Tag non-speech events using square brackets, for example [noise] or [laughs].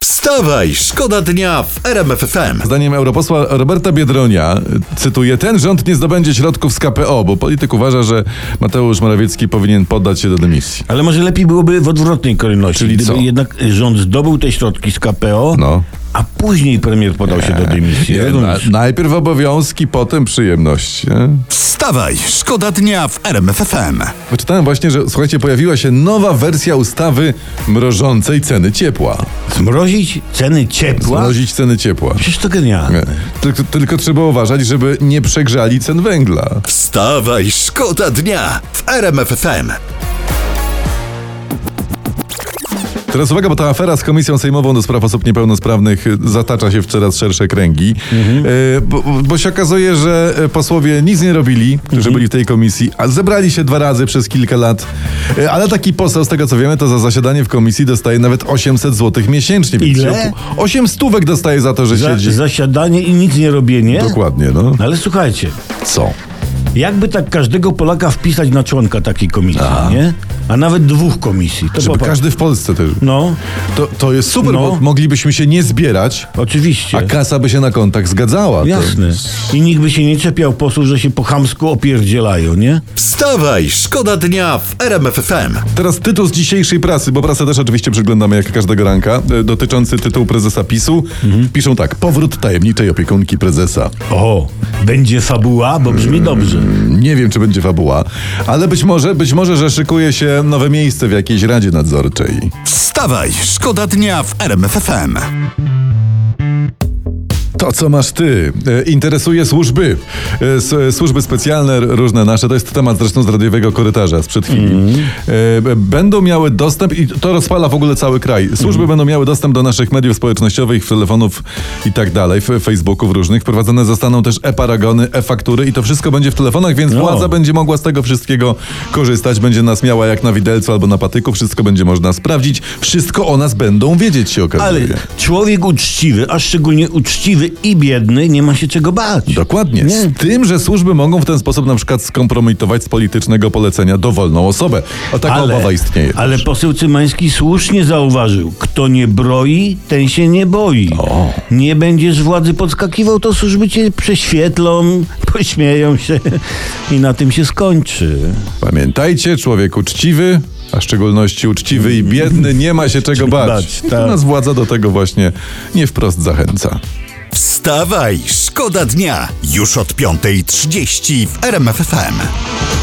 Wstawaj, szkoda dnia w RMF FM. Zdaniem europosła Roberta Biedronia, cytuję, ten rząd nie zdobędzie środków z KPO, bo polityk uważa, że Mateusz Morawiecki powinien poddać się do dymisji. Ale może lepiej byłoby w odwrotnej kolejności. Czyli Gdyby co? jednak rząd zdobył te środki z KPO, No. a później premier podał się do dymisji. Nie, na, rozumiesz? najpierw obowiązki, potem przyjemności. Nie? Wstawaj, szkoda dnia w RMF FM. Wyczytałem właśnie, że słuchajcie, pojawiła się nowa wersja ustawy mrożącej ceny ciepła. Zmrozić ceny ciepła? Mrozić ceny ciepła. Przecież to genialne. Nie. Tylko, tylko trzeba uważać, żeby nie przegrzali cen węgla. Wstawaj, szkoda dnia w RMF FM. Teraz uwaga, bo ta afera z Komisją Sejmową do spraw osób niepełnosprawnych y, zatacza się w coraz szersze kręgi, Mhm. Y, bo, bo się okazuje, że y, posłowie nic nie robili, którzy Mhm. byli w tej komisji, a zebrali się dwa razy przez kilka lat, Y, ale taki poseł, z tego co wiemy, to za zasiadanie w komisji dostaje nawet 800 zł miesięcznie. więc Ile? się opu- 8 stówek dostaje za to, że Za, siedzi. zasiadanie i nic nie robienie? Dokładnie, no. No Ale słuchajcie, Co? jakby tak każdego Polaka wpisać na członka takiej komisji, nie? A nawet dwóch komisji. To Żeby popatrz. każdy w Polsce też... No, To, to jest super, No. bo moglibyśmy się nie zbierać, oczywiście. a kasa by się na kontakt zgadzała. To- Jasne. I nikt by się nie czepiał posłów, że się po chamsku opierdzielają, nie? Wstawaj, szkoda dnia w RMF FM. Teraz tytuł z dzisiejszej prasy, bo prasę też oczywiście przeglądamy jak każdego ranka, e, dotyczący tytułu prezesa PiSu. Piszą tak, powrót tajemniczej opiekunki prezesa. O, będzie fabuła, bo brzmi dobrze. Nie wiem, czy będzie fabuła, ale być może, być może, że szykuje się nowe miejsce w jakiejś radzie nadzorczej. Wstawaj, szkoda dnia w RMF FM. To, co masz ty, e, interesuje służby. E, s- e, Służby specjalne, r- różne nasze, to jest temat zresztą z radiowego korytarza sprzed chwili. Mhm. E, b- Będą miały dostęp, i to rozpala w ogóle cały kraj. Służby Mhm. będą miały dostęp do naszych mediów społecznościowych, telefonów i tak dalej, f- Facebooków różnych. Wprowadzone zostaną też e-paragony, e-faktury i to wszystko będzie w telefonach, więc No. władza będzie mogła z tego wszystkiego korzystać. Będzie nas miała jak na widelcu albo na patyku. Wszystko będzie można sprawdzić. Wszystko o nas będą wiedzieć, się Ale okazuje. człowiek uczciwy, a szczególnie uczciwy i biedny, nie ma się czego bać. Dokładnie. Nie. Z tym, że służby mogą w ten sposób na przykład skompromitować z politycznego polecenia dowolną osobę. O taka obawa istnieje. Ale poseł Cymański słusznie zauważył, kto nie broi, ten się nie boi. Nie będziesz władzy podskakiwał, to służby cię prześwietlą, [laughs] pośmieją się i na tym się skończy. Pamiętajcie, człowiek uczciwy, a w szczególności uczciwy i biedny, nie ma się czego bać. bać, I tu tak. nas władza do tego właśnie nie wprost zachęca. Wstawaj, szkoda dnia już od 5.30 w RMF FM.